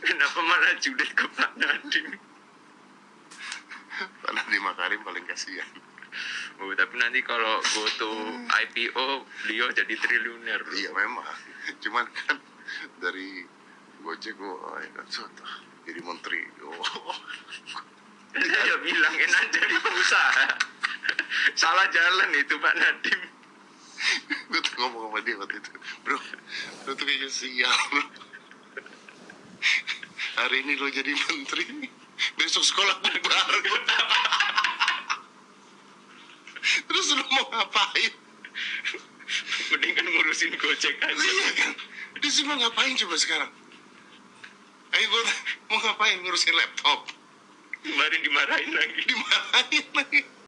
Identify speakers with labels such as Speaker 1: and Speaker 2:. Speaker 1: Kenapa malah Judet ke Pak Nadiem?
Speaker 2: Pak Nadiem Makarim paling kasihan.
Speaker 1: Oh, tapi nanti kalau go to IPO beliau jadi triliuner. bro.
Speaker 2: Iya memang. Cuman kan dari Gojek gua oh, ya enak contoh jadi menteri. Oh.
Speaker 1: Saya bilang enak jadi pengusaha. Salah jalan itu Pak Nadiem.
Speaker 2: gue tuh ngomong sama dia waktu itu bro lu tuh kayaknya sial bro. hari ini lo jadi menteri besok sekolah bubar terus lo mau ngapain
Speaker 1: Mendingan ngurusin Gojek
Speaker 2: Lah
Speaker 1: aja.
Speaker 2: iya kan dia sih mau ngapain coba sekarang ayo gue mau ngapain ngurusin laptop
Speaker 1: Kemarin dimarahin lagi.
Speaker 2: dimarahin lagi